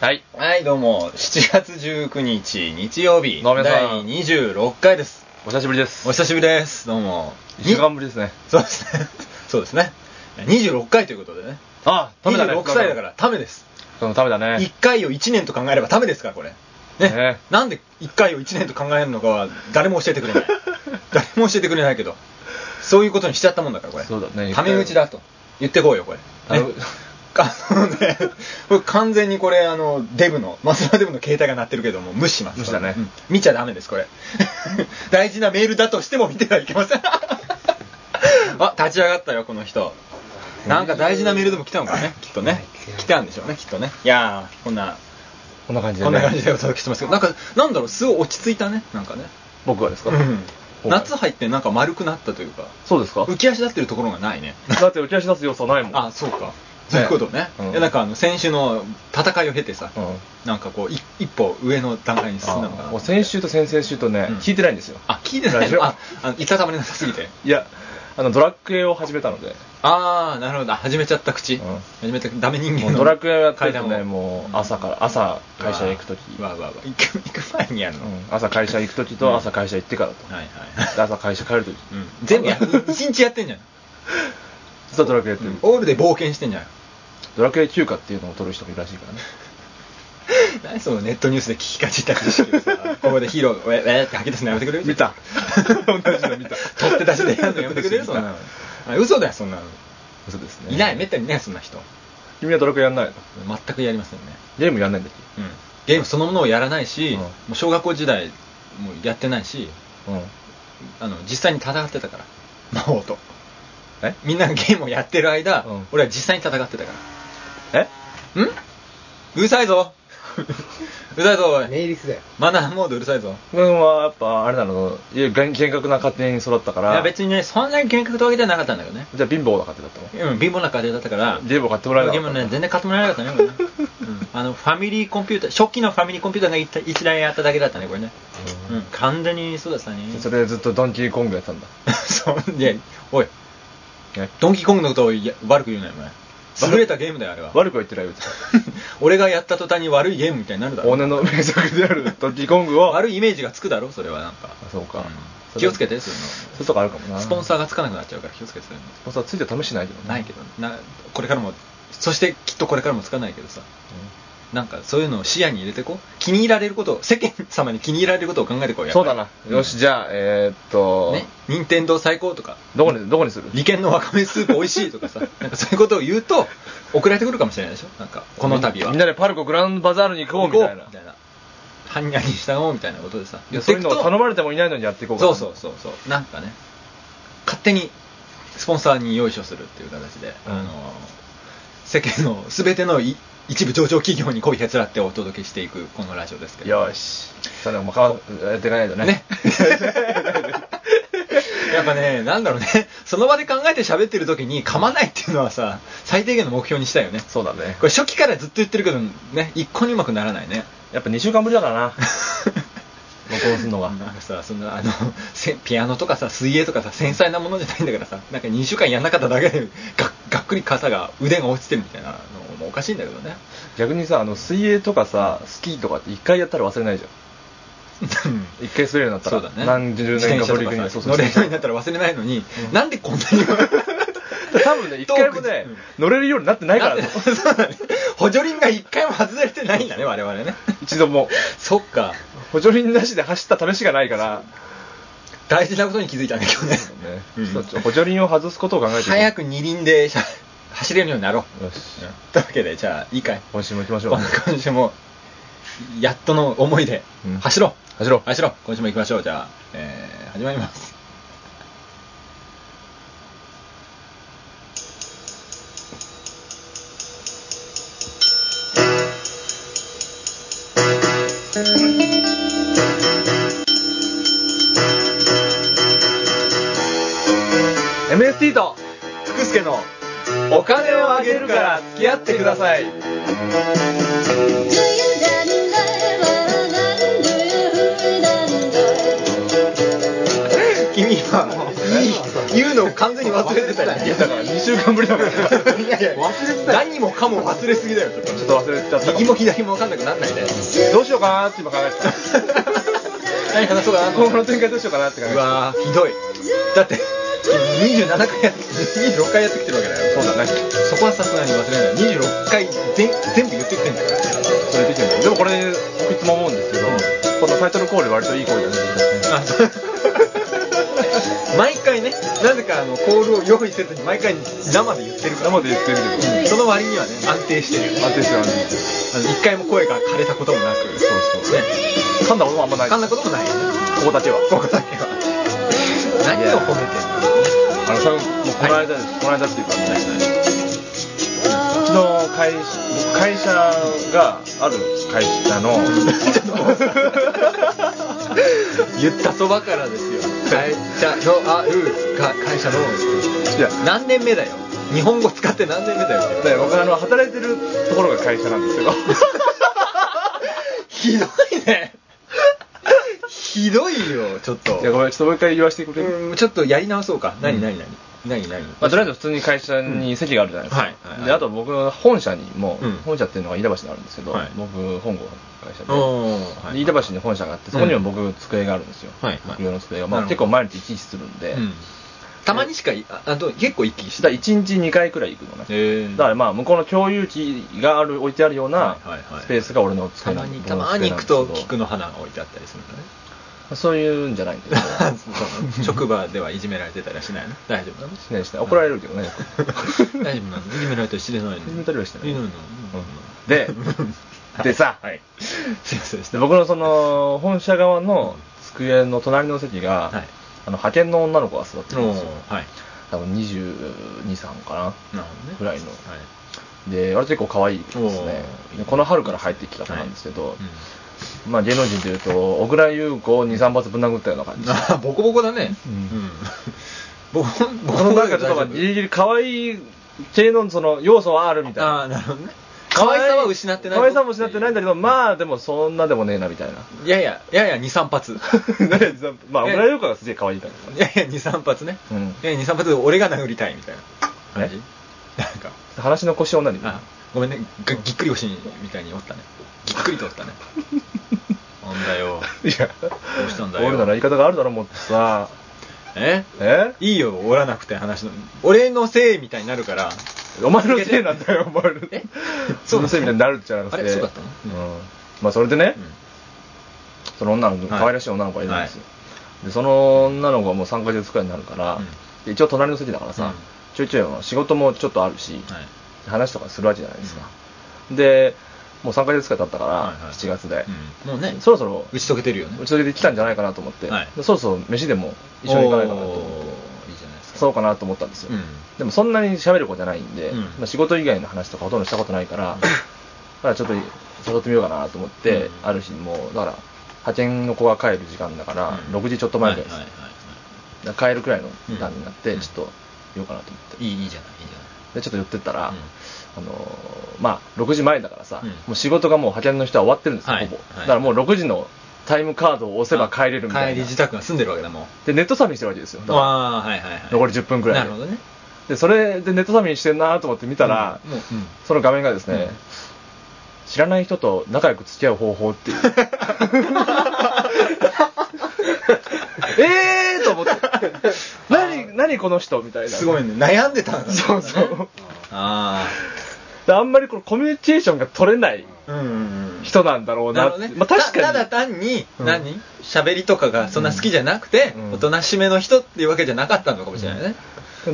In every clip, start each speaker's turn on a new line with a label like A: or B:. A: はい。
B: はい、どうも。7月19日、日曜日。
A: 野目さ
B: 第
A: ん
B: 26回です。
A: お久しぶりです。
B: お久しぶりです。どうも。
A: 一週間ぶりですね。
B: そうですね。そうですね。26回ということでね。
A: あ、ためだね。
B: 26歳だから、ためです。
A: そのためだね。
B: 1回を1年と考えればためですから、これ。ね。
A: ね
B: なんで1回を1年と考えるのかは、誰も教えて くれない。誰も教えてくれないけど。そういうことにしちゃったもんだから、これ。
A: そうだね
B: ため口だと。言ってこうよ、これ。
A: あの
B: ねあのね、これ完全にこれ、あの、デブの、マスラデブの携帯が鳴ってるけども、無視します。
A: 無視だね
B: うん見ちゃダメです、これ。 大事なメールだとしても見てはいけ ません。あ、立ち上がったよ、この人。なんか大事なメールでも来たのかね、きっとね。来たんでしょうね、きっとね。いやー、こんな、
A: こんな感じで
B: こ
A: ね。
B: んな感じでお届けしてますけど、なんか、なんだろう、すごい落ち着いたね、なんかね。
A: 僕はですか
B: うん。夏入ってなんか丸くなったというか、
A: そうですか
B: 浮き足立ってるところがないね。
A: だって浮き足立つ要素ないもん。
B: あ、そうか。そういうことね。
A: うん
B: いやなんかあの先週の戦いを経てさ、
A: う
B: なんかこうい一歩上の段階に進んだのか
A: あ
B: な。
A: もう先週と先々週とね
B: うん、
A: 聞いてないんですよ。
B: あ、聞いてない
A: ラジオ
B: のあ、あのいたたまれなさすぎて。
A: いや、あの、ドラクエを始めたので、
B: あー、なるほど。始めちゃった口。
A: うん
B: 始めたダメ人間
A: もう
B: の。
A: ドラクエをやってる
B: 階
A: と
B: 段
A: ね、
B: を
A: もう朝から、朝会社へ行くとき、
B: わわわわ行く行く前にやるの。
A: う
B: はい
A: ん朝会社行くとき
B: うん
A: と朝会社行ってからと。
B: はい。
A: で朝会社帰るとき。
B: うん全部やる、一日やってんじゃん。
A: ずっとドラクエやってる。
B: オールで冒険してんじゃん。
A: ドラクエ休暇っていうのを取る人もいるらしい からね。
B: 何そのネットニュースで聞きかじった知識をさ、ここでヒーロー、え、えって吐き出すのやめてくれる
A: 見 た同じの見た
B: 取って出しでやるのやめてくれる
A: 見た
B: そんなの。あ嘘だよ、そんなの。
A: そうですね。
B: いない、めったにいない、そんな人。
A: 君はドラクエやんないの
B: 全くやりませんね。
A: ゲームやんないんだっ
B: うん。ゲームそのものをやらないし、
A: うん
B: もう小学校時代、もうやってないし、
A: けうん。
B: あの、実際に戦ってたから。魔王と。
A: え
B: みんながゲームをやってる間、
A: うん
B: 俺は実際に戦ってたか
A: え
B: ら。んうるさ いぞうるさいぞ、おい。
C: ネイリスだよ。
B: マナーモードうるさいぞ。
A: 君はやっぱあれなの、いや厳厳格な家庭に育ったか
B: い
A: ら、
B: や、別にね、そんなに厳格とわけじゃなかったんだけどね。
A: じゃあ貧乏な家庭だったの
B: うん、貧乏な家庭だったから、
A: ゲームを買ってもらえなか
B: ゲ
A: っ
B: ー
A: た
B: ム
A: の
B: ね、全然買ってもらえなかったね、これね。 うんあの、ファミリーコンピューター、初期のファミリーコンピューターが一台一台やっただけだったね、これね。うん、完全にそうだったね。
A: それでずっとドンキーコングやってたんだ。
B: そう、で、おい、
A: ね
B: ドンキーコングのことをや悪く言うなよ、お前。優れたゲームだよ、あれは。
A: 悪くは言ってないよ。別に
B: 俺がやった途端に悪いゲームみたいになるだろ。
A: 俺の名作であるドンキーコングを。
B: 悪いイメージがつくだろ、それはなん
A: あ
B: か。
A: そうか。
B: うん
A: それ
B: 気をつけて、そ
A: そう
B: いう
A: れとかあるかも
B: の。
A: な。
B: スポンサ
A: ー。
B: ーがつかなくなっちゃうから気をつけて、そういうの。
A: スポンサーついて試しないけどね
B: ないけど、なこれからもそしてきっとこれからもつかないけどさなんかそういうのを視野に入れてこう気に入られることを世間様に気に入られることを考えてこう
A: うん
B: や
A: そ
B: っぱり
A: うだな。よし、じゃあ、えーっと、
B: ね任天堂最高とか
A: どこに、どこにする
B: 利権のわかめスープ美味しいとかさなんかそういうことを言うと送られてくるかもしれないでしょなんかこの度は
A: みんなでパルコグランドバザールに行こうみたい
B: 行こ
A: な
B: う。犯人に従おうみたいなことでさ
A: いやそういうのを頼まれてもいないのにやっていこうか
B: そ
A: な
B: うそうそうそうなんかね勝手にスポンサーに用意書するっていう形で、
A: うん
B: あの世間の全てのい一部上場企業に媚びへつらってお届けしていくこのラジオですけど
A: よしそれもうかわやっていかないとね
B: ね やっぱねなんだろうねその場で考えて喋ってる時に噛まないっていうのはさ最低限の目標にしたいよね
A: そうだね
B: これ初期からずっと言ってるけどね一向にうまくならないね
A: やっぱ2週間ぶりだからな録音するのが
B: なんかさそんなあの せピアノとかさ水泳とかさ繊細なものじゃないんだからさなんか2週間やんなかっただけでががっくり傘が腕が落ちてるみたいなのもおかしいんだけどね
A: 逆にさあの水泳とかさスキーとかって一回やったら忘れないじゃん一回滑るようになった
B: そ
A: ら
B: うだね
A: 何十年か
B: 自
A: ぶ
B: 転
A: り
B: 車
A: に
B: と
A: そ
B: かさ
A: うそう
B: 乗れるようになったら忘れないのに、なんでこんなに
A: 多分ね一回もね
B: うん
A: 乗れるようになってないから
B: なん
A: ね
B: で そうだね補助輪が一回も外れてないんだね我々ね
A: 一度も
B: そっか
A: 補助輪なしで走った試しがないから
B: 大事なことに気づいたね今日ね
A: ね
B: うん
A: ちょっと補助輪を外すことを考えていこう
B: 早く二輪で しゃ走れるようになろう
A: よし
B: うんというわけでじゃあいいかい
A: 今週も行きましょう
B: 今週もやっとの思いで
A: うん
B: 走ろう、
A: 走ろう
B: 走ろう今週も行きましょうじゃあ、えー始まります
A: う MST と
B: 福助の
A: お金をあげるから付き合ってください
D: Do you dun dun dun
B: 君はも
D: dun? Do you dun dun?
B: う言うるのを完全に忘れてたりだから2週間ぶりだからいやいや忘れてた何もかも忘れすぎだよちょっと
A: ちょっと忘れちゃったかも
B: 右も左も分かんなくなんないで
A: どうしようかなって今考えてた
B: 何話そうかなと
A: 今後
B: 思
A: の
B: っ
A: 展開どうしようかなって考え
B: て
A: て
B: う
A: た
B: わーひどいだって27回やって26回やってきてるわけだ
A: そ
B: よ
A: うだね
B: そこはさすがに忘れない26回全全部言ってきてんだから
A: それできるんだでもこれ僕いつも思うんですけど、このタイトルコール割といい声が出てきたね
B: あそう 毎回ねなぜかあのコールを用意せずに毎回生で言ってるから
A: 生で言ってるけど
B: うんその割にはね安定してるよね
A: 安定してる安定してる
B: あの一回も声が枯れたこともなくそうそうね
A: 噛んだこともあんまない
B: 噛んだこともないよね
A: ここだけは
B: ここだけは何を褒めてんの
A: あのそれもうこの間です、この間っていうか、昨日会社僕会社がある会社 の
B: 言ったそばからですよ会社のあるか会社の
A: いや
B: 何年目だよ日本語使って何年目だよ
A: ね僕あの働いてるところが会社なんですけど
B: ひどいねひどいよちょっと
A: いやごめんちょっともう一回言わせてくれる、
B: うんちょっとやり直そうか何何何何何
A: まあ、とりあえず普通に会社に席があるじゃないですか、
B: はいはいはい
A: であと僕の本社にも、
B: うん
A: 本社っていうのが飯田橋にあるんですけど、
B: はい
A: 僕本郷の会社で,、
B: おーはい
A: で飯田橋に本社があってそこにも僕机があるんですよ、
B: はいはい
A: 僕用の机が、まあ、
B: なるほど
A: 結構毎日行き来するんで、
B: うんたまにしかいああと結構一気にし
A: だ
B: た
A: から1日2回くらい行くのね、
B: え
A: だからまあ向こうの共有機がある置いてあるような
B: はいはいはい
A: スペースが俺の
B: た
A: 机なん
B: ま
A: で
B: に
A: 僕
B: た
A: の
B: ま
A: 机
B: に
A: な
B: 行
A: んで
B: く
A: すけど
B: と菊の花が置いてあったりするのね
A: そういうんじゃないんだけど
B: 職場ではいじめられてたりはしないの大丈夫なの
A: しない しない怒られるけどねよく
B: 大丈夫なのいじめられたりしてないのい
A: いじめたりはしてない
B: いのいい
A: う
B: の
A: んででさ、
B: はいすいませんでし
A: で
B: た
A: 僕のその本社側の机の隣の席が、
B: はい
A: あの派遣の女の子が座ってるんですよ
B: おーはい
A: 多分223かな
B: なるほどね
A: ぐらいの
B: はい
A: で割と結構可愛いですね
B: おー
A: でこの春から入ってきた子なんですけど、
B: うん
A: まあ芸能人でいうと小倉優子を23発ぶん殴ったような感じ
B: あボコボコだね
A: う
B: うん んボコボ
A: こ
B: コ
A: の
B: ボコ
A: なんかちょっとまあギリギリ可愛い系のその要素はあるみたいな
B: ああなるほどね可愛さは失ってない
A: 可愛さも失ってないんだけどまあでもそんなでもねえなみたい な
B: いやいやいやいや23発
A: まあ小
B: え
A: 倉優子がすげえ可愛いから
B: いやいや23発ね
A: うん
B: いやいや23発で俺が殴りたいみたいな感
A: え
B: じなんか
A: 話の腰を何
B: あごめんねぎぎっくり腰みたいに折ったねぎっくりと折ったねなんだよ
A: いや
B: どうしたんだよ
A: 俺なら言い方があるだろもってさ
B: え
A: え
B: いいよ折らなくて話の俺のせいみたいになるから
A: お前のせいなんだよお前の
B: え
A: そのせいみたいになるじゃなくて
B: あれそうだったの
A: うんまあそれでね、その女の子
B: はい
A: 可愛らしい女の子がいるんですよ、でその女の子はもう3ヶ月くらいになるから、
B: うん
A: で一応隣の席だからさ、
B: うん
A: ちょいちょい仕事もちょっとあるし、
B: はい
A: 話とかするわけじゃないですか、でもう3ヶ月くらい経ったから、
B: はいはい
A: 7月で、
B: うんもうね
A: そろそろ
B: 打ち解けてるよね
A: うちの家で来たんじゃないかなと思って、
B: はい
A: でそろそろ飯でも一緒に行かないかなと思って
B: おーいいじゃないですか
A: そうかなと思ったんですよ、
B: うん
A: でもそんなに喋る子じゃないんで、
B: うん
A: まあ、仕事以外の話とかほとんどしたことないから、だからちょっと誘ってみようかなと思って、
B: うん
A: ある日もうだから派遣の子が帰る時間だから、
B: うん
A: 6時ちょっと前ぐらいです、
B: はいはいはいは
A: だから帰るくらいの時間になって、
B: うん
A: ちょっと言おうかなと思って、
B: いいいいいいじゃないいいじゃない
A: でちょっと寄ってったら、
B: うん
A: あのーまあ6時前だからさ、
B: うん
A: もう仕事がもう派遣の人は終わってるんですよ、
B: はい
A: ほぼ、
B: はい
A: だからもう6時のタイムカードを押せば帰れるみたい
B: 帰り
A: な
B: 自宅が住んでるわけだもん
A: でネットサーフィンしてるわけですよだから
B: ああはいはいはい
A: 残り10分くらい
B: なるほどね
A: でそれでネットサーフィンしてんなと思って見たら、
B: うんもううん
A: その画面がですね、
B: うん
A: 知らない人と仲良く付き合う方法って いうえーと思って何何この人みたいな
B: すごいね悩んでたんだね
A: そうそう
B: あ
A: であんまりこのコミュニケーションが取れない
B: あうんうんうん
A: 人なんだろうな
B: なる
A: っ
B: ほ
A: て
B: どね、
A: まあ、確かに
B: たただ単に
A: うん
B: 何喋りとかがそんな好きじゃなくて、
A: うん
B: おとなしめの人っていうわけじゃなかったのかもしれないね、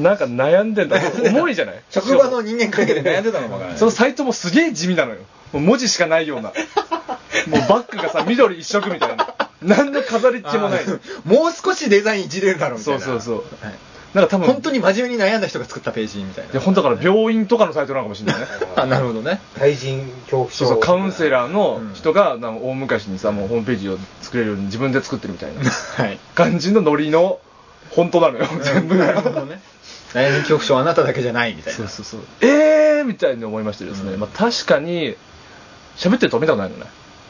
A: なんか悩んでんだ重いじゃない
B: 職場の人間関係で悩んでたのかもわからない
A: そのサイトもすげえ地味なのよもう文字しかないよう なもうバッグがさ緑一色みたいな何の飾りっちもない
B: あーもう少しデザインいじれるだろうみたいな
A: そうそうそう
B: はい
A: なんか多分
B: 本当に真面目に悩んだ人が作ったページみたいない
A: や本当だから病院とかのサイトなのかもしれないね
B: あなるほどね
C: 対人恐怖症
A: そうそうカウンセラーの
B: うん
A: 人が、なんか大昔にさもうホームページを作れるように自分で作ってるみたいな
B: はい
A: 感じのノリの本当なのよ全部
B: なるほどね 悩み恐怖症はあなただけじゃないみたいな
A: そうそうそうえーみたいに思いましてですね、
B: うん
A: まあ、確かに喋ってると見たことないのね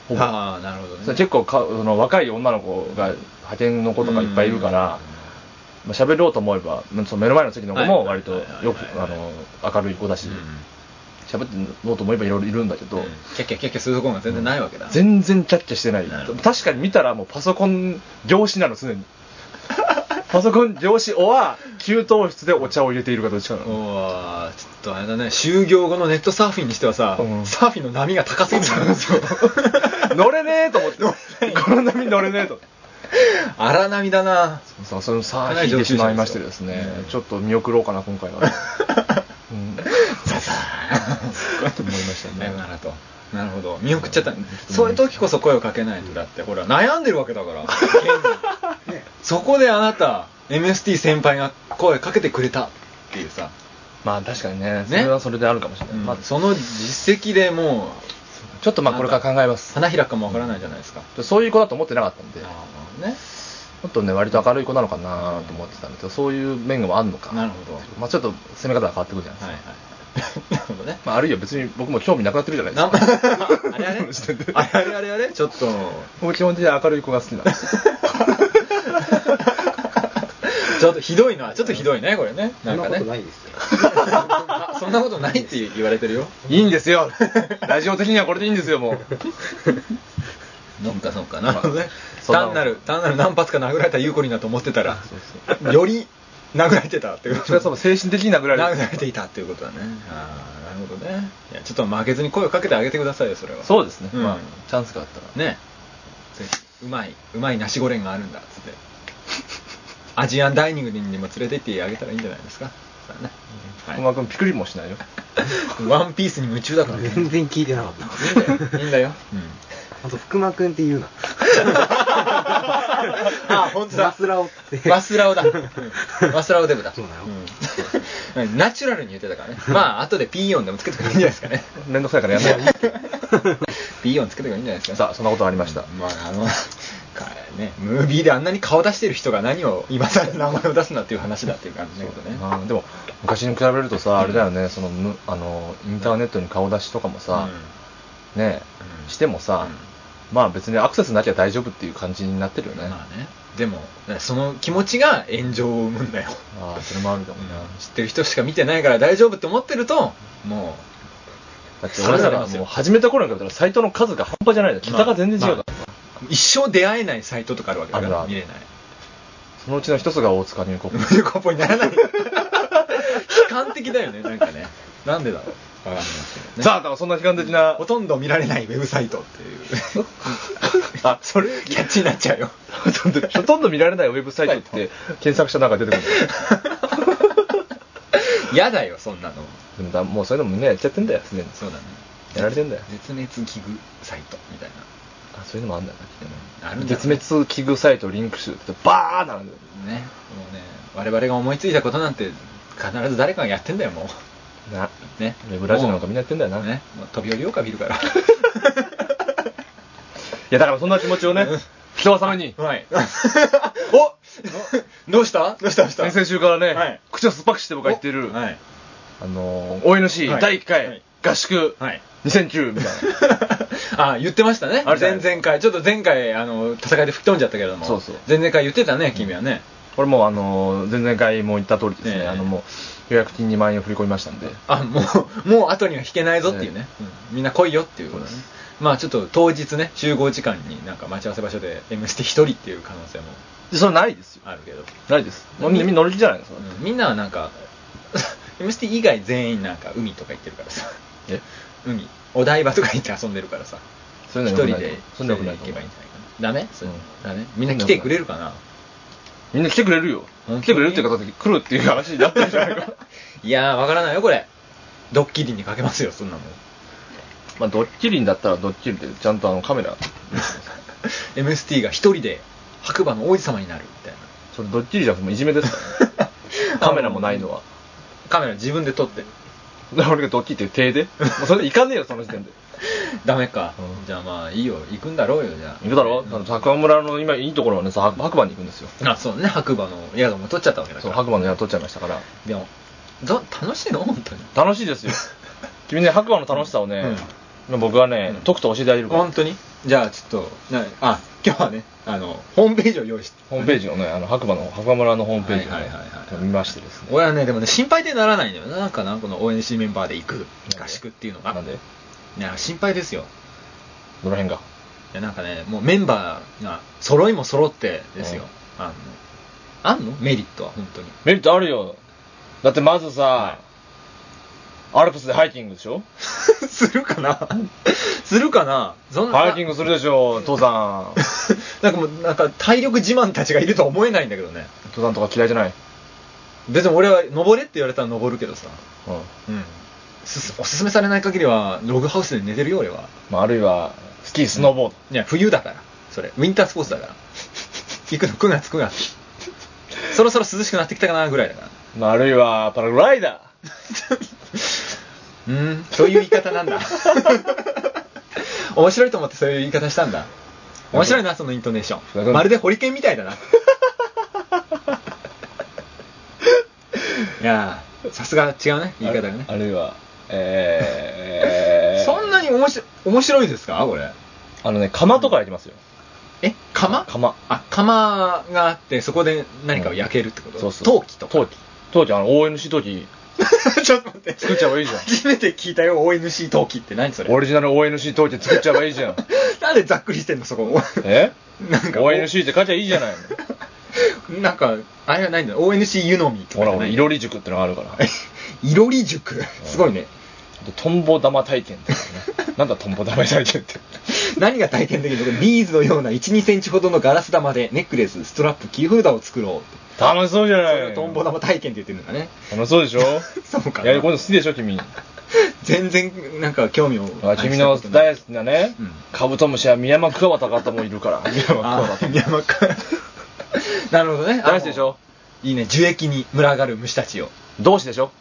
A: ほぼ
B: ああなるほどね
A: それ結構かその若い女の子が派遣の子とかいっぱいいるから、まあ、喋ろうと思えば、まあその目の前の席の子も
B: はい
A: 割とよく、
B: は
A: あ
B: いはいはいはい
A: の、明るい子だし、喋ってろうと思えばいろいろいるんだけど、
B: キャッキャッキャッキャするところが全然ないわけだ、
A: 全然キャッキャしてない
B: なるほど
A: 確かに見たらもうパソコン業紙なの 常にパソコン業紙おは給湯室でお茶を入れているかどっちかな
B: お
A: の
B: ーちょっとあれだね就業後のネットサーフィンにしてはさ、
A: うん
B: サーフィンの波が高すぎるじゃん
A: 乗れねえと思ってこの波乗れねえと
B: 荒波だな
A: さあ そのさ
B: か
A: あ
B: なり
A: 引い
B: 上
A: て
B: 級
A: し
B: 者ですよ
A: まいましてですね
B: うん
A: ちょっと見送ろうかな今 回は、うん、
B: ザザー
A: と思いましたね
B: さよならとなるほど見送っちゃった、そういう時こそ声をかけないとだってほら悩んでるわけだ から現にそこであなた MST 先輩が声かけてくれたっていうさ、
A: まあ確かにねそれはそれであるかもしれない、
B: うん
A: まあ、
B: その実績でも
A: ちょっとまあこれから考えま
B: う
A: す
B: 花開くかもわからないじゃないですか、
A: そういう子だと思ってなかったんで
B: なる
A: も
B: ほどね
A: っとね割と明るい子なのかなと思ってたんだけどそういう面もあるのか
B: なるほど
A: まあちょっと攻め方が変わってくるじゃないですか、
B: はいはいなるほどね
A: まあ、あるいは別に僕も興味なくなってる じゃないです
B: な
A: か。
B: あれあ れ
A: この時点で
B: あれあれあれあれちょっと
A: 僕基本的に明るい子が好きなんです。
B: ちょっとひどいなちょっとひどいねこれね
C: そ
B: なんん
C: な
B: か
C: こ
B: ね
C: とないですよ。
B: あそんなことないって言われてるよ
A: いいんですよ。 ラジオ的にはこれでいいんですよ、もう。
B: そっかそっかなるほどね
A: そんなもん
B: 単なる単なる何発か殴られた優子になと思ってたらより殴られてたっていう
A: それはその精神的に殴られる。
B: 殴られていたっていうことだねああなるほどねいやちょっと負けずに声をかけてあげてくださいよそれは
A: そうですね。
B: うん
A: まあ、チャンスがあったら。
B: ねぜひうまいうまいナシゴレンがあるんだっつってアジアンダイニングにも連れて行ってあげたらいいんじゃないですかそれはね
A: 小
B: は
A: 間君ピクリもしないよ。
B: いワンピースに夢中だからねいい
C: 全然聞いてなかっ
B: んだよいいんだよ、
C: た。あと、福間くんって言うな。
B: あ本当だ
C: マスラオって。
B: ワスラオだ。うんワスラオデブだ。
C: そうだよ
B: うん ナチュラルに言ってたからね。まあ、後でピーヨンでもつけてくればいいんじゃないですかね。
A: めんどくさいからやん ない。
B: ピーヨンつけてくればいいんじゃないですか。
A: さあ、そんなことありました。
B: まあ、あの、かね、ムービーであんなに顔出してる人が何を今更名前を出すなっていう話だっていう感じだけどね。
A: まあでも、昔に比べるとさ、あれだよね、その、むあの、インターネットに顔出しとかもさ、ね
B: うん
A: してもさ、まあ別にアクセスなきゃ大丈夫っていう感じになってるよ
B: うん
A: ね。
B: まあね。でも、その気持ちが炎上を生むんだよ。
A: ああ、それもあるかもな。
B: 知ってる人しか見てないから大丈夫って思ってると、も
A: だって俺らがもう始めた頃に比べたらサイトの数が半端じゃないの桁が全然違うから、
B: う、一生出会えないサイトとかあるわけだか
A: ある
B: ら、
A: ある
B: 見れない。
A: そのうちの一つが大塚入国
B: 無料コンポにならない悲観的だよねなんかねなんでだろうわかんないですけど ね
A: さあだからそんな悲観的 な
B: ほとんど見られないウェブサイトっていう
A: あ
B: それキャッチになっちゃうよ
A: ほとんどほとんど見られないウェブサイトって検索したらなんか出てくる
B: 嫌だよそんなの
A: でもだもうそういうのもみんなやっちゃってんだよすでに
B: そうだね
A: やられてんだよ
B: 絶滅危惧サイトみたい
A: あそういうのもあんだよ
B: なあ
A: な
B: るんだ
A: 絶滅危惧サイトリンク集ってバーなんだよ
B: ねもうね我々が思いついたことなんて必ず誰かがやってんだよも
A: な
B: うね
A: ウェブラジオなんかみんなやってんだよな、
B: ねもう飛び降りようか見るから
A: いやだからそんな気持ちをね人はさめに
B: はい。おどうしたどうしたどうした
A: 先々週からね、
B: はい
A: 口を酸っぱくして僕は言ってる、
B: はい。
A: あのー、お
B: は
A: NC
B: い
A: 第1回、
B: はい
A: 合宿、
B: はい。
A: 2009みたい な
B: あ、言ってましたね。
A: あるじゃな
B: 前
A: いですか
B: 々回、ちょっと前回、あの、戦いで吹き飛んじゃったけれども。
A: そうそう
B: 前々回言ってたね、君はね。
A: これもうあの前々回も言った通りですね、
B: ええ
A: あのもう予約金2万円を振り込みましたんで、
B: あ、もう、もう後には引けないぞっていうね。うんみんな来いよっていうことね。まあちょっと当日ね、集合時間になんか待ち合わせ場所で MST 一人っていう可能性も
A: でそれないですよ
B: あるけど。
A: ないです
B: うん
A: みんな乗り気じゃないですか、
B: うんみんなはなんか、MST 以外全員なんか海とか行ってるからさ。
A: え
B: 海。お台場とか行って遊んでるからさ。
A: そうい
B: 一
A: うの
B: 人
A: よくない
B: で
A: そういうのよくない
B: 行けばいいんじゃないかなダメそれ
A: うん
B: ダメみんな来てくれるかな
A: みんな来てくれるよ
B: 本当に
A: 来てくれるっていう方で来るっていう話になってるじゃないか
B: いやーわからないよこれドッキリにかけますよそんなもん
A: まあドッキリにだったらドッキリでちゃんとあのカメラ
B: MST が一人で白馬の王子様になるみたい
A: それドッキリじゃなくてもういじめ ですからねカメラもないのは
B: なカメラ自分で撮って
A: だから俺がドッキリっていう体でもうそれでいかねえよその時点で
B: ダメか、
A: うん
B: じゃあまあいいよ行くんだろうよじゃあ
A: 行くだろ、あの高村の今いいところはねさ白馬に行くんですよ
B: あそうね白馬の宿も撮っちゃったわけだか
A: そう
B: ら
A: 白馬の宿取っちゃいましたから
B: でもど楽しいの本当に
A: 楽しいですよ君ね白馬の楽しさをね、僕はね、とくと教えてあげるから
B: 本当にじゃあちょっとなあ今日はねあのホームページを用意して
A: ホームページをね、あの白馬の白馬村のホームページをね、
B: はいはいはいはい
A: 見ましてですね。
B: 俺はねでもね心配でならないんだよななんかなこの ONC メンバーで行く
A: で
B: 合宿っていうのが
A: なんで、
B: いや心配ですよ
A: どの辺が。
B: いやなんかねもうメンバーが揃いも揃ってですよ、あのあんのメリットは本 当に
A: メリットあるよ。だってまずさ、アルプスでハイキングでしょ
B: するかな するかなそんな
A: ハイキングするでしょ、登山。
B: なんかもうなんか体力自慢たちがいるとは思えないんだけどね
A: 登山とか嫌いじゃない。
B: 別に俺は登れって言われたら登るけどさ
A: うん。
B: うんすすおすすめされない限りはログハウスで寝てるよ俺は
A: まあ、あるいは、スキー、スノーボード。
B: いや冬だからそれウィンタースポーツだから行くの9月9月そろそろ涼しくなってきたかなぐらいだから
A: まあ、あるいは、パラグライダー。
B: うーんそういう言い方なんだ 面白いと思ってそういう言い方したんだ面白いなそのイントネーシ
A: 福田
B: ョン
A: 君
B: まるでホリケンみたい だないやーさすが違うね言い方がね
A: あるいは、 えー、
B: そんなに面白面白いですかこれ
A: あのね、釜とかやりますよ。
B: え釜
A: 釜
B: あ釜があってそこで何かを焼けるってこと、
A: そうそう。
B: 陶器とか
A: 陶器。陶器、あの、ONC 陶器、
B: ちょっと待って。
A: 作っちゃえばいいじゃん
B: 初めて聞いたよ、ONC 陶器って何それ。
A: オリジナル ONC 陶器作っちゃえばいいじゃん。
B: なんでざっくりしてんの、そこ。
A: え
B: なんか。
A: ?ONC って書いちゃいいじゃないの。
B: なんか、あれはないんだよ。ONC 湯飲みと
A: ほら、
B: かじ ゃな
A: 俺、
B: い。
A: いろり塾ってのがあるから。
B: いろり塾。 すごいね。
A: でトンボ玉体験ってのね。なんだトンボ玉体験って。
B: 何が体験できるのこれビーズのような1、2センチほどのガラス玉でネックレス、ストラップ、キーホルダーを作ろうって。
A: 楽しそうじゃ
B: そ
A: ない
B: れをトンボ玉体験って言ってるんだね。
A: 楽しそうでしょ
B: そうかな
A: やり込んで好きでしょ、君。
B: 全然、なんか興味を。
A: あ君の大好きなね
B: うん、
A: カブトムシはミヤマクワバタ方もいる から。ミヤマクワ
B: あ
A: バタ。
B: ー山か。 なるほどね。
A: 大好きでしょ
B: あのいいね。樹液に群がる虫たちを。
A: 同志でし ょ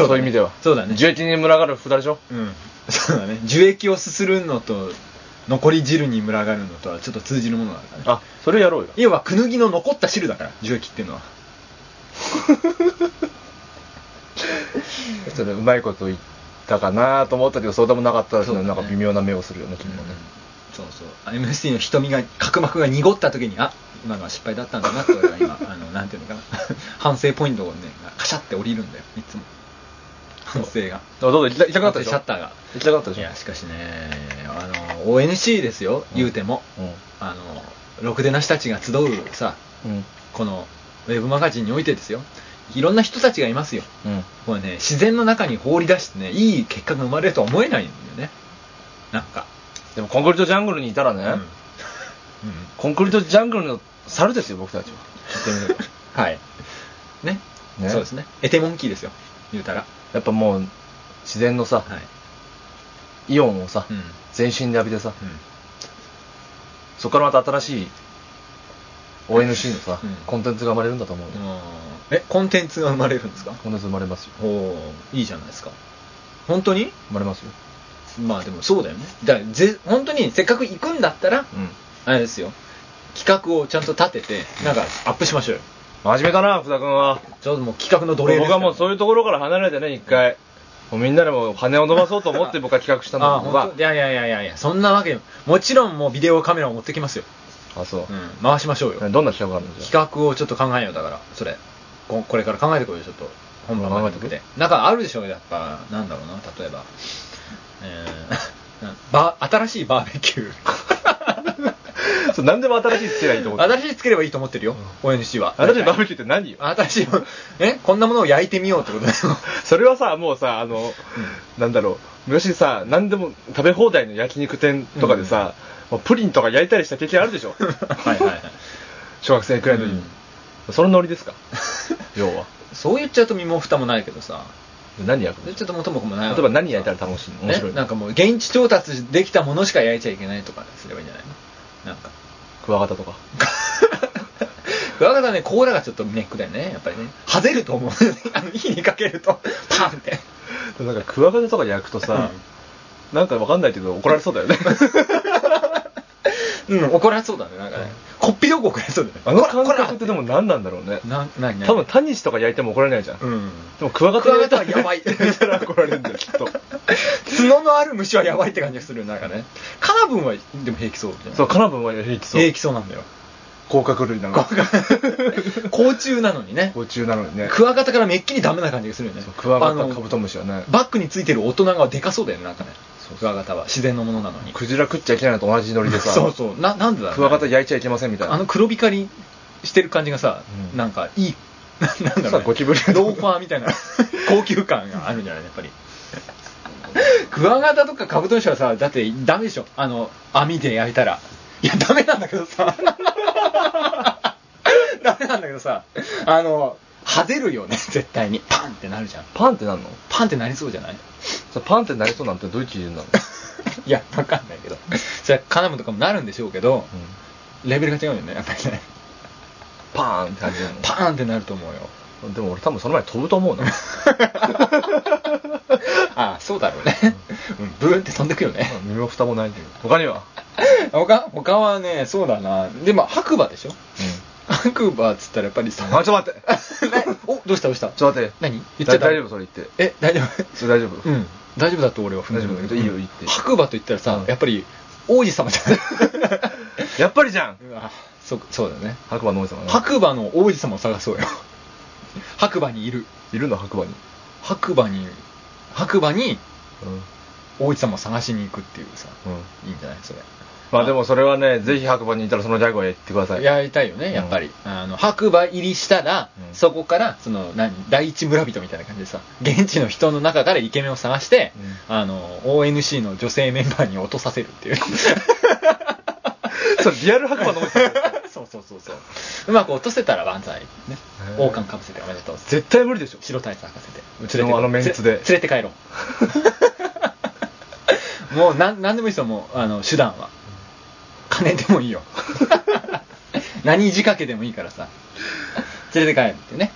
B: だね
A: いう意味では。
B: そうだね。
A: 樹液に群がる二人でしょ
B: うん。そうだね。樹液をすするのと、残り汁に群がるのとはちょっと通じるものがあるから
A: あ、
B: ね。
A: それやろうよ。
B: 要は、くぬぎの残った汁だから、樹液っていうのは。
A: それうまいこと言ったかなと思ったけど、そうでもなかったらし
B: そうだね
A: なんか微妙な目をするよね、君もね。
B: そうそう。あ MST の瞳が、角膜が濁った時に、あ今のは失敗だったんだなって、俺は 今、あの、なんていうのかな。 反省ポイントをね、カシャって降りるんだよ、いつも。反省が。
A: あどうぞ、行きた行きたくなったでしょ
B: シャッターが。
A: 行きたくなったで
B: い
A: しょ
B: や、しかしね、あの、ONC ですよ、言うても。
A: う
B: あの、ろくでなしたちが集うさ、
A: ん。うん。
B: このウェブマガジンにおいてですよいろんな人たちがいますよ
A: うん。
B: これね自然の中に放り出してねいい結果が生まれるとは思えないんだよねなんか、
A: でもコンクリートジャングルにいたらね、
B: うんうん、
A: コンクリートジャングルの猿ですよ、僕 たちは。
B: はいね
A: ね
B: そうですねエテモンキーですよ言うたら
A: やっぱもう、自然のさ、
B: はい、
A: イオンをさ、
B: うん
A: 全身で浴びてさ、
B: う
A: そこからまた新しい ONC のさ、
B: うん
A: コンテンツが生まれるんだと思うよ、
B: ん、うんえコンテンツが生まれるんですか
A: コンテンツ生まれますよ。
B: おーいいじゃないですか本当に
A: 生まれますよ。
B: まあでもそうだよねだからぜ本当にせっかく行くんだった
A: う
B: ら、
A: ん。
B: あれですよ企画をちゃんと立ててなんかアップしましょうよ
A: 真面目だな、福田君は。
B: ちょうどもう企画の奴隷です
A: 僕はもうそういうところから離れてね、一回。もうみんなでもう羽を伸ばそうと思って僕は企画したん
B: あ
A: だけど
B: 本当いやいやいやいやいやそんなわけもちろんもうビデオカメラを持ってきますよ、
A: あ、そう
B: う。ん、回しましょうよ
A: どんな企画があるんですか
B: 企画をちょっと考えようだからそれここれから考えてこいよちょっと本番まで
A: 考え
B: て
A: て
B: なんかあるでしょやっぱなんだろうな例えば、えー なバー新しいバーベキュー
A: そう、何でも新しいつけりゃいいと思って。
B: 新しいつければいいと思ってるよ、ONC は
A: 新しいバーベキューって何よ
B: 新しい えこんなものを焼いてみようってことだよ
A: それはさ、もうさ、あの、なんだろう、昔さ、何でも食べ放題の焼肉店とかでさ、もうプリンとか焼いたりした経験あるでしょ
B: はいはいはい
A: 小学生くらいの時に。そのノリですか要は。
B: そう言っちゃうと身も蓋もないけどさ
A: 何焼く
B: で
A: の
B: ちょっと元も子もない
A: 例えば何焼いたら楽しいの面白い
B: ね、なん
A: の
B: かもう現地調達できたものしか焼いちゃいけないとかすればいいんじゃないのなんか
A: クワガタとか。
B: クワガタね甲羅がちょっとネックだよねやっぱりねはぜると思う あの火にかけるとパンって
A: でもなんかクワガタとか焼くとさ、なんかわかんないけど怒られそうだよね。
B: うん怒られそうだねなんかね、こっぴどく怒られそうだよね
A: あの
B: こら
A: 感
B: こら
A: 覚ってでも何なんだろうね。
B: な何何
A: 多分タニシとか焼いても怒られないじゃん。
B: うん
A: でもクワガタ
B: クワガタは
A: 焼い
B: やば い
A: たら焼いたら怒られるんだよ、きっと。
B: 角のある虫はやばいって感じがするよなんかねカナブンはでも平気そうじゃない
A: そう、カナブンは平気そう。
B: 平気そうなんだよ
A: 甲殻類なの。
B: 甲虫なのにね
A: 甲虫なのにね。
B: クワガタからめっきりダメな感じがするよね
A: そうクワガ
B: あの
A: タカブトムシはね。
B: バックについてる大人がでかそうだよねなんかねクワガタは自然のものなのに
A: クジラ食っちゃいけないのと同じノリでさ。
B: そうそうななんでだろうね
A: クワガタ焼いちゃいけませんみたいな。
B: あの黒光りしてる感じがさ、
A: うん
B: なんかいい、 ななんだろう、
A: さ
B: ね
A: あ、ゴキブリ
B: ローファーみ たいな高級感があるんじゃないやっぱり。クワガタとかカブトムシはさ、だってダメでしょ、あの網で焼いたら。いや、ダメなんだけどさ、 ダメなんだけどさ、あの、はぜるよね、絶対に。パンってなるじゃん。
A: パンってなんの
B: パンってなりそうじ ゃない
A: それパンってなりそうなんてどういう基準なの、
B: いや、わかんないけど。それはカナムとかもなるんでしょうけど、
A: うん
B: レベルが違うよね、やっぱりね。
A: パーンって感じなの
B: パーンってなると思う よ。
A: でも俺多分その前に飛ぶと 思うな
B: ああそうだろうね、うん、ブーンって飛んでくよね
A: 身も蓋もないけど他には
B: 他他はねそうだなでも白馬でしょ白馬っつったらやっぱりさ
A: あちょっと待って
B: なおどうしたどうした
A: ちょっと待って
B: 何言っち
A: だ
B: ゃった
A: 大丈夫それ言って
B: え大丈
A: それ大丈夫
B: 夫うん大丈夫だと俺は踏んでるんだけど
A: 大丈夫いいよいいって
B: 白馬と言ったらさ、
A: うん
B: やっぱり王子様じゃない
A: やっぱりじゃん
B: うわそそうだよね
A: 白馬の王子様ね
B: 白馬の王子様を探そうよ 白馬にいる
A: いるの白馬に
B: 白馬に白馬に
A: うん
B: 王子様を探しに行くっていうさ、
A: う
B: いいんじゃないそれ
A: まあでもそれはねぜひ白馬にいたらそのジャグはやってください
B: やりたいよねやっぱり、あの白馬入りしたら、
A: うん
B: そこからその何第一村人みたいな感じでさ現地の人の中からイケメンを探して、あの ONC の女性メンバーに落とさせるってい う
A: それリアル白馬の王子様
B: そうそうそうそううまく落とせたら万歳ね
A: ー
B: 王冠かぶせておめでとう
A: 絶対無理でしょ
B: 白タイツ履かせて
A: うちのあのメンツで
B: 連れて帰ろう もうなんなんでもいいですよもうあの手段は金でもい いよ何仕掛けでもいいからさ連れて帰るってね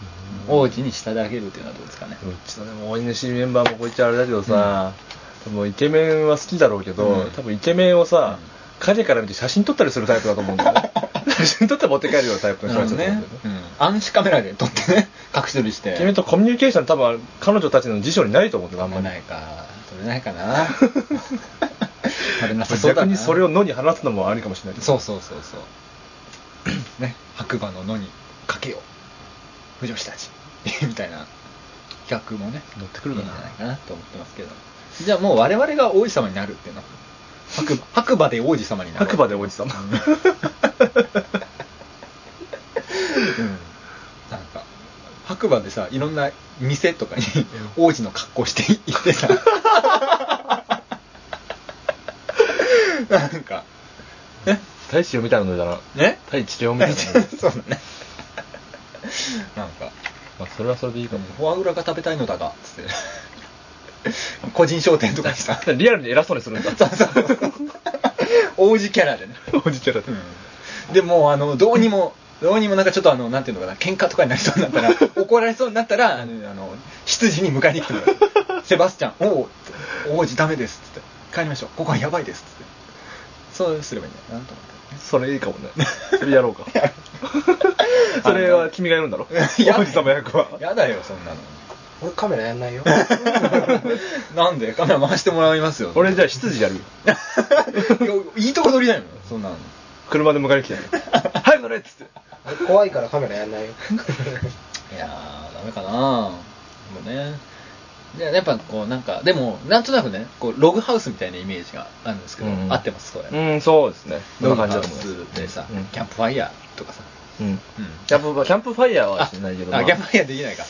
B: 王子に従えるっていうのはどうですかね
A: うちのでも応援しメンバーもこいつあれだけどさ、多分イケメンは好きだろうけど、
B: うん
A: 多分イケメンをさ、影から見て写真撮ったりするタイプだと思うんだ よね写真撮って持って帰るようなタイプの人た
B: なる
A: ちだ
B: ほど
A: と思うんだよね、
B: ねうん、暗視カメラで撮ってね 隠し撮りして
A: イケメンとコミュニケーション多分彼女たちの辞書にないと思うんだよあん
B: 取
A: ま
B: れ
A: り
B: ないか取れない かな 取れなさそうだ
A: 逆
B: な
A: にそれを野に放つのもありかもしれないけど
B: そうそうそうそうね白馬の野にかけよう不女子たち みたいな企画もね
A: 乗ってくるかない
B: いんじゃないかなと思ってますけどじゃあもう我々が王子様になるっていうの 白馬白馬で王子様になる
A: 白馬で王子様
B: なんか白馬でさいろんな店とかに王子の格好して行っ てさなんかね
A: 大地を見たいなのだな
B: ね
A: 大地をみた いなの
B: そうだねなんか
A: まあそれはそれでいいかも
B: フォアグラが食べたいのだがつって個人商店とかにさ
A: リアルに偉そうにするんだ
B: 王子キャラでね、
A: 王子キャラで、
B: でもうあのどうにもどうにもなんかちょっとあのなんていうのかな喧嘩とかになりそうになった ら怒られそうになったらあのあの執事に迎えに来てもらうセバスチャン「おお王子ダメです」っつって「帰りましょうここはやばいです」っつってそうすればいいんだよなと思って。
A: それいいかもね それやろ うかそれは君がやるんだろ
B: や
A: 王子様役は
B: やだよそんなの
C: 俺カメラやん ないよ。
B: なんでカメラ回してもらいますよ
A: 俺じゃあ 執事やるよ
B: いやいいとこ取りだよそ んなの
A: 車で迎えに来てや る早く乗れっつって
C: 俺怖いからカメラやんない よ。
B: いやーダメかなもうねでやっぱこうなんかでもなんとなくねこうログハウスみたいなイメージがあるんですけど、
A: うん
B: 合ってますそれ、
A: うんそうですねそん
B: ロ
A: な
B: グ
A: 感
B: ハ
A: じだ
B: ウ
A: と思います
B: スでさ、
A: うん
B: キャンプファイヤーとかさ、
A: うん
B: うん
A: キャンプファキャンプファイヤーは
B: あ
A: しないけど
B: あ
A: まあ
B: キャンプファイヤーできないか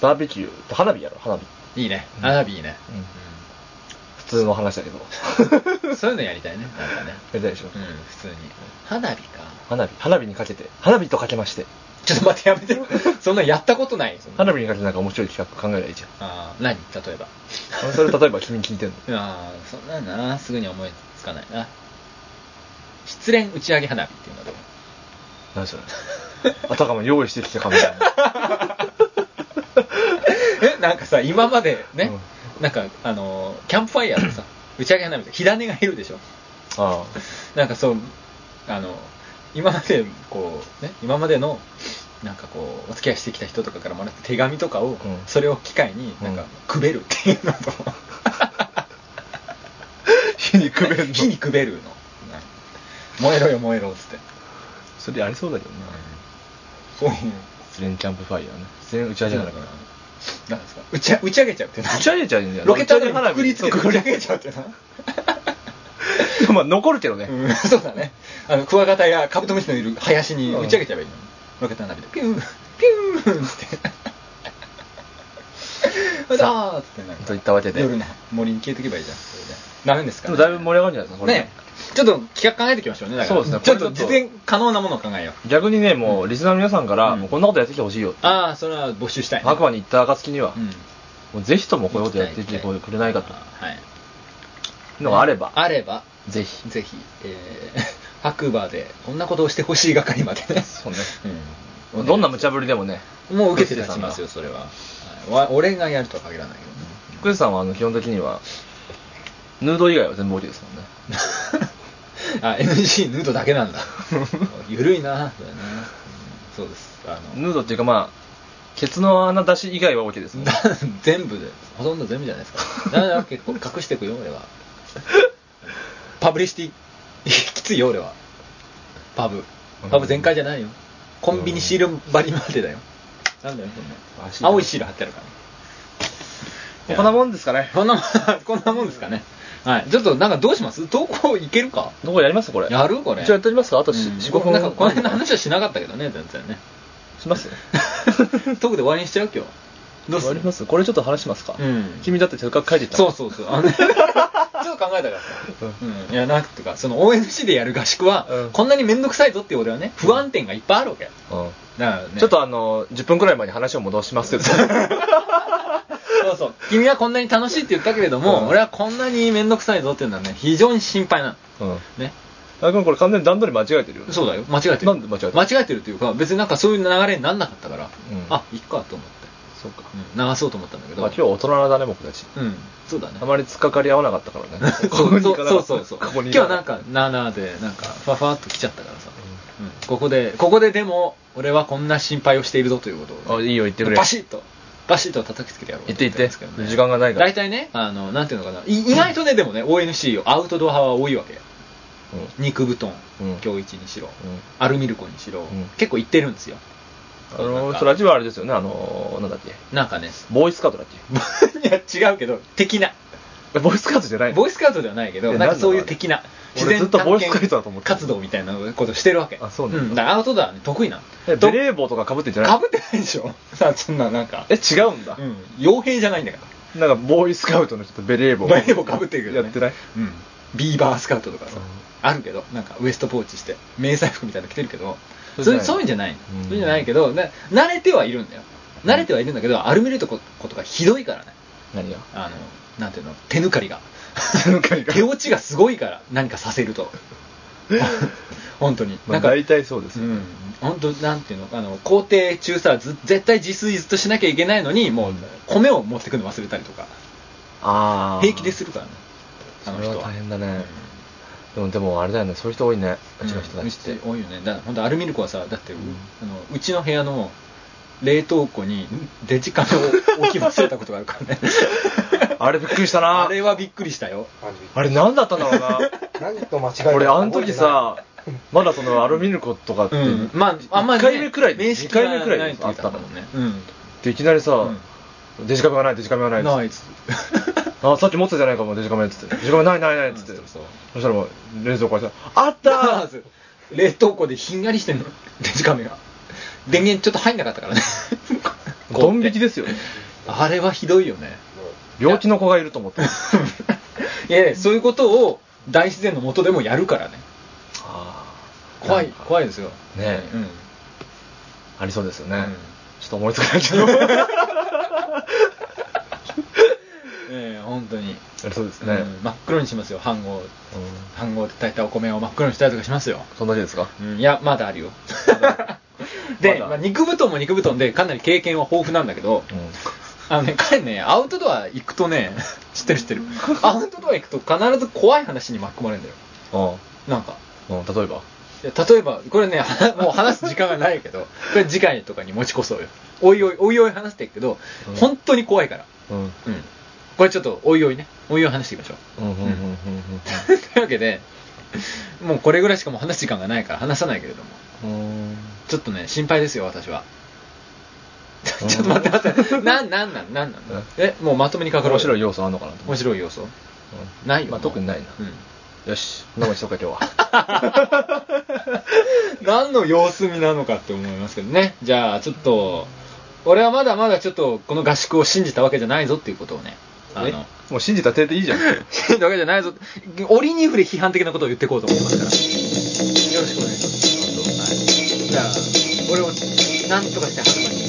A: バーベキュー花火やろ花火
B: いいね花火いいね、
A: 普通の話だ けど
B: うんそういうのやりたいねなんかね
A: やりたいでしょ
B: うん普通に花火か
A: 花火花火にかけて花火とかけまして
B: ちょっと待ってやめて そんなやったことないそんな
A: 花火にかけてなんか面白い企画考えりゃいいじゃん
B: あー何例えば
A: あそれ例えば君聞いてんの
B: ああそんなんなすぐに思いつかないな失恋打ち上げ花火っていうのはどう
A: 何それ あたかも用意してきたかみた いな
B: えなんかさ今までね、なんかあのーキャンプファイヤーのさ打ち上げ花火って火種がいるでしょ
A: あ
B: なんかそうあの今までこうね今までのなんかこうお付き合いしてきた人とかからもらった手紙とかを、
A: ん
B: それを機会になんか
A: うん
B: くべるっていうのと、
A: 火にくべ んの
B: 火にくべるの。燃えろよ、燃えろ、つって。
A: それありそうだけどな
B: そういう。
A: 失恋キャンプファイヤーね失恋打ち上げなんだから
B: なんですか打ち打ち上げちゃうってな
A: 打ち上げちゃうんじゃない
B: ロケットで
A: 花
B: く
A: 火
B: くりつけて打ち上げちゃうってな
A: まあ残るけどね、
B: うんそうだね あのクワガタやカブトムシのいる林に
A: うん
B: 打ち上げちゃえばいいのにロケット花火でピュンピュンってさあっつってなんか
A: といったわけで
B: 夜ね森に消えていけばいいじゃんそれでダメですか
A: で
B: ね
A: もだいぶ盛り上がるんじゃないですかこれ
B: ねちょっと企画考えていきましょうねだから
A: そうですね
B: ちょっ
A: ことれちょ
B: 実
A: っと
B: 現可能なものを考えよう
A: 逆にねもうリスナーの皆さんから、
B: うん
A: もうこんなことやってきてほしいよって
B: ああそれは募集したいね
A: 白馬に行った暁には、
B: うん
A: もうぜひともこういうことやってきてくれないかと
B: はい
A: いうのがあれば、
B: あれば
A: ぜひ
B: ぜひ、えー 白馬でこんなことをしてほしい係までね。
A: そうね
B: うん
A: どんな無茶ぶりでもね
B: もう受けて立ち
A: さんが
B: ますよ、それは。はいわ俺がやるとは限らないけ
A: 福士さんはあの基本的にはヌード以外は全部 OK ですもんね
B: どね。あ、NG ヌードだけなんだ。ゆるいな、そうだねうんそうです。あの、
A: ヌードっていうかまあケツの穴出し以外は OK です もんね
B: だ全部で、ほとんど全部じゃないですか。だから結構隠していくよ、俺は。パブリシティ、 きついよ、俺は。パブ。パブ全開じゃないよ。コンビニシール張りまでだよ。なんだよ、そんな。青いシール貼ってあるから。
A: もうこんなもんですかね
B: こんなもん、 こんなもんですかね。はい。ちょっと、なんかどうします投稿いけるか
A: どこやりますこれ
B: やるこれ。
A: 一応やっておりますかあと
B: うん
A: 4、5分
B: なんか、この辺の話はしなかったけどね、全然ね。
A: し ます
B: トークで終わりにしちゃう今日。どうす
A: 終わ
B: る
A: りますこれちょっと話しますか、
B: うん
A: 君だってせっかく書いてきた
B: そうそうそう。あの ねちょっと考えたからさ。うん。いや、なんとか、その ONC でやる合宿は、
A: うん
B: こんなにめんどくさいぞっていう俺はね、不安点がいっぱいあるわけ。だか
A: うん
B: らね。
A: ちょっとあの10分くらい前に話を戻しますけど
B: そうそう。君はこんなに楽しいって言ったけれども、
A: うん
B: 俺はこんなにめんどくさいぞっていうのはね、非常に心配な
A: うん
B: の。ね。
A: あ君これ完全に段取り間違えてるよね
B: そうだよ。間違えてる。
A: なんで間違えてる
B: 間違えてるというか、別になんかそういう流れになんなかったから、
A: うん
B: あ、いっかと思って、
A: そうか、
B: うん流そうと思ったんだけど。
A: まあ、今日は大人だね僕たち
B: うん。そうだね
A: あ。まり突っかかり合わなかったから ね
B: そうそうそうそうそう。
A: ここに
B: 今日なん
A: か
B: か、なーなーで、なんか、ふわふわっと来ちゃったからさ。うんここで、ここででも、俺はこんな心配をしているぞということを
A: あ
B: ね、
A: いいよ言ってくれ
B: バシッと、バシッと叩きつけてやろう
A: 言って言って
B: 思んですけどね
A: 時間がないから
B: 大体ね、あの、なんていうのかな、い意外とね、でもね、ONC をアウトドア派は多いわけ。肉布団
A: うん、
B: 今日一にしろ
A: うん、
B: アルミルコにしろ
A: ん、
B: 結構行ってるんですよ。
A: あの
B: なん
A: 人
B: か
A: たちはあれですよねあのなんだっけ
B: なん かね、
A: ボーイスカートだっけ
B: いや違うけど、的な。
A: えボーイスカートじゃない
B: ボーイスカウトではないけど、
A: え
B: なん
A: なんだ
B: か
A: ろ
B: そうういう的な、
A: あれ俺ずっとボーイスカウトだと思ってた
B: 活動みたいなことしてるわけ。
A: あそうなんだ
B: ん、だからアウトドアね得意な
A: え
B: の。
A: ベレー帽とかかぶってんじゃない
B: かぶってないでしょ さあ、そんな、なんか。
A: え違うんだ、
B: うん。傭兵じゃないんだか
A: なんかボーイスカウトの人とベレー帽
B: ら。バレー帽かぶってるけど、ね。
A: やってない
B: うん。ビーバースカウトとかさ
A: うん、
B: あるけど、なんかウエストポーチして、迷彩服みたいなの着てるけど、
A: それじゃない
B: そうそういうんじゃない
A: うん
B: の。そういうんじゃないけど、な慣れてはいるんだよ。慣れてはいるんだけど、アルミルとことかひどいからね。
A: 何 が
B: あの、なんていうの、手抜かりが。
A: 手抜かりが
B: 手落ちがすごいから、何かさせると。 本当に。
A: ま
B: な
A: あ
B: んか、
A: 大体そうです
B: う
A: よ、
B: ん。本当なんていうの、あの、工程中さ、ず絶対自炊ずっとしなきゃいけないのに、もう、米を持ってくの忘れたりとか、
A: ああ
B: 平気でするからね。あ
A: そ
B: の
A: れ
B: 人
A: は
B: は。
A: 大変だね、でもでもあれだよねそういう人多いねうちの人たちって、
B: うち多いよねだから本当アルミルクはさだってう,、あのうちの部屋の冷凍庫にデジカメを置き忘れたことがあるからね
A: あれびっくりしたな
B: あれはびっくりしたよ
C: 感
A: あれ何だったんだろう な
C: じ。何と間違えた
A: 俺あの時さまだそのアルミルコとかって、
B: うん、まあ、あんまり、ね、
A: 一回目くらい
B: 面識が
A: 二回目くらい
B: ないって言って
A: あった
B: も
A: も
B: ん
A: ん
B: ね
A: ね。
B: う
A: でいきなりさ、
B: う
A: デジカメがないデジカメがないっ
B: ん。
A: つって
B: ないっつって。
A: あさっき持ってたじゃないかもデジカメっつってデジカメないないないっつって、
B: うんそうそう
A: そしたらもう冷蔵庫にさあった
B: ダー
A: ー
B: ズ 冷凍庫でひんやりしてんの、デジカメが。電源ちょっと入んなかったからね。
A: ドン引きですよ
B: あれはひどいよね。
A: 病気の子がいると思って
B: いやいや、そういうことを大自然の下でもやるからね。
A: あ
B: 怖い、怖いですよ。
A: ーねえ、
B: うん。
A: ありそうですよね、
B: うん
A: ちょっと思いつかない けどあ
B: ええ、本当に。
A: りそうです
B: うん
A: ね、
B: 真っ黒にしますよ、飯盒。
A: うん
B: 飯盒で炊いたお米を真っ黒にしたりとかしますよ。
A: そんなにですか
B: うんいや、まだあるよ。
A: ま
B: で、
A: だ
B: まあ、肉布団も肉布団で、かなり経験は豊富なんだけど、あのね、彼ね、アウトドア行くとね、 知ってる知 ってる。アウトドア行くと必ず怖い話に巻き込まれるんだよ。
A: う
B: なんか。
A: ん、うん、例えば
B: いや例えば、これね、 はもう話す時間がないけど、これ次回とかに持ち越そうよ。おいおい、おいおい話していくけど
A: うん、
B: 本当に怖いから。
A: うん
B: うん。これちょっとおいおいねおいおい話していきましょう
A: うんうんうんうんうん
B: というわけでもうこれぐらいしかもう話す時間がないから話さないけれども
A: うん。うーん
B: ちょっとね心配ですよ私はちょっと待って待ってなんなんなんなんなんえもうまとめにかかろ
A: 面
B: う
A: 白い要素あんのかなと思
B: 面
A: って。
B: 白い要素
A: うん
B: ないよ、
A: まあ
B: もう
A: 特にないな
B: うん
A: よし、飲むしとか今日は。
B: 何の様子見なのかって思いますけどねじゃあちょっと俺はまだまだちょっとこの合宿を信じたわけじゃないぞっていうことをねあ
A: え
B: の
A: もう信じた手でいいじゃ ん。
B: 信じたわけじゃないぞ折に触れ批判的なことを言っていこうと思いますからよろしくお願いします、はい、じゃあ俺を何とかして白馬に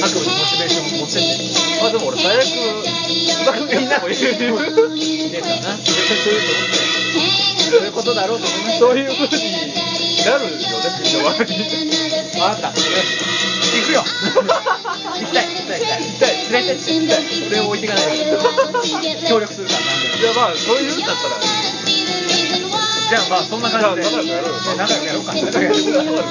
B: 白馬にモチベーションを持ってって
A: まあでも俺最悪、津田君がいなもいる。
B: ねえかな絶対そういうと思ってそういうことだろうと思います
A: そういう風になるよね、みんな周りに。
B: わかった行くよ行きたい行きたい行きたい行きたい連れてって行きたい俺を置いていかないで協力するからなんでも
A: いやまあ、そういうんだったら。
B: じゃあまあそんな感じで
A: じゃあ仲良くやろうよ
B: ね仲良くやろうか仲良くやろうか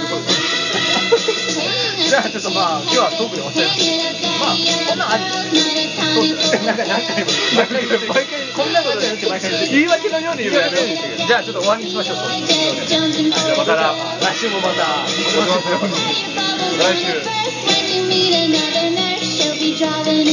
B: じゃあちょっとまあ今日はトークで終わっちゃいますまあこんなんありそうですねなんか何回も毎回言って毎回こんなことやるって毎回言って
A: 言い訳のように言うのやめよう
B: じゃあちょっと終わりにしましょうそうですねじゃあまた来週もまた
A: 来週。
D: She'll be driving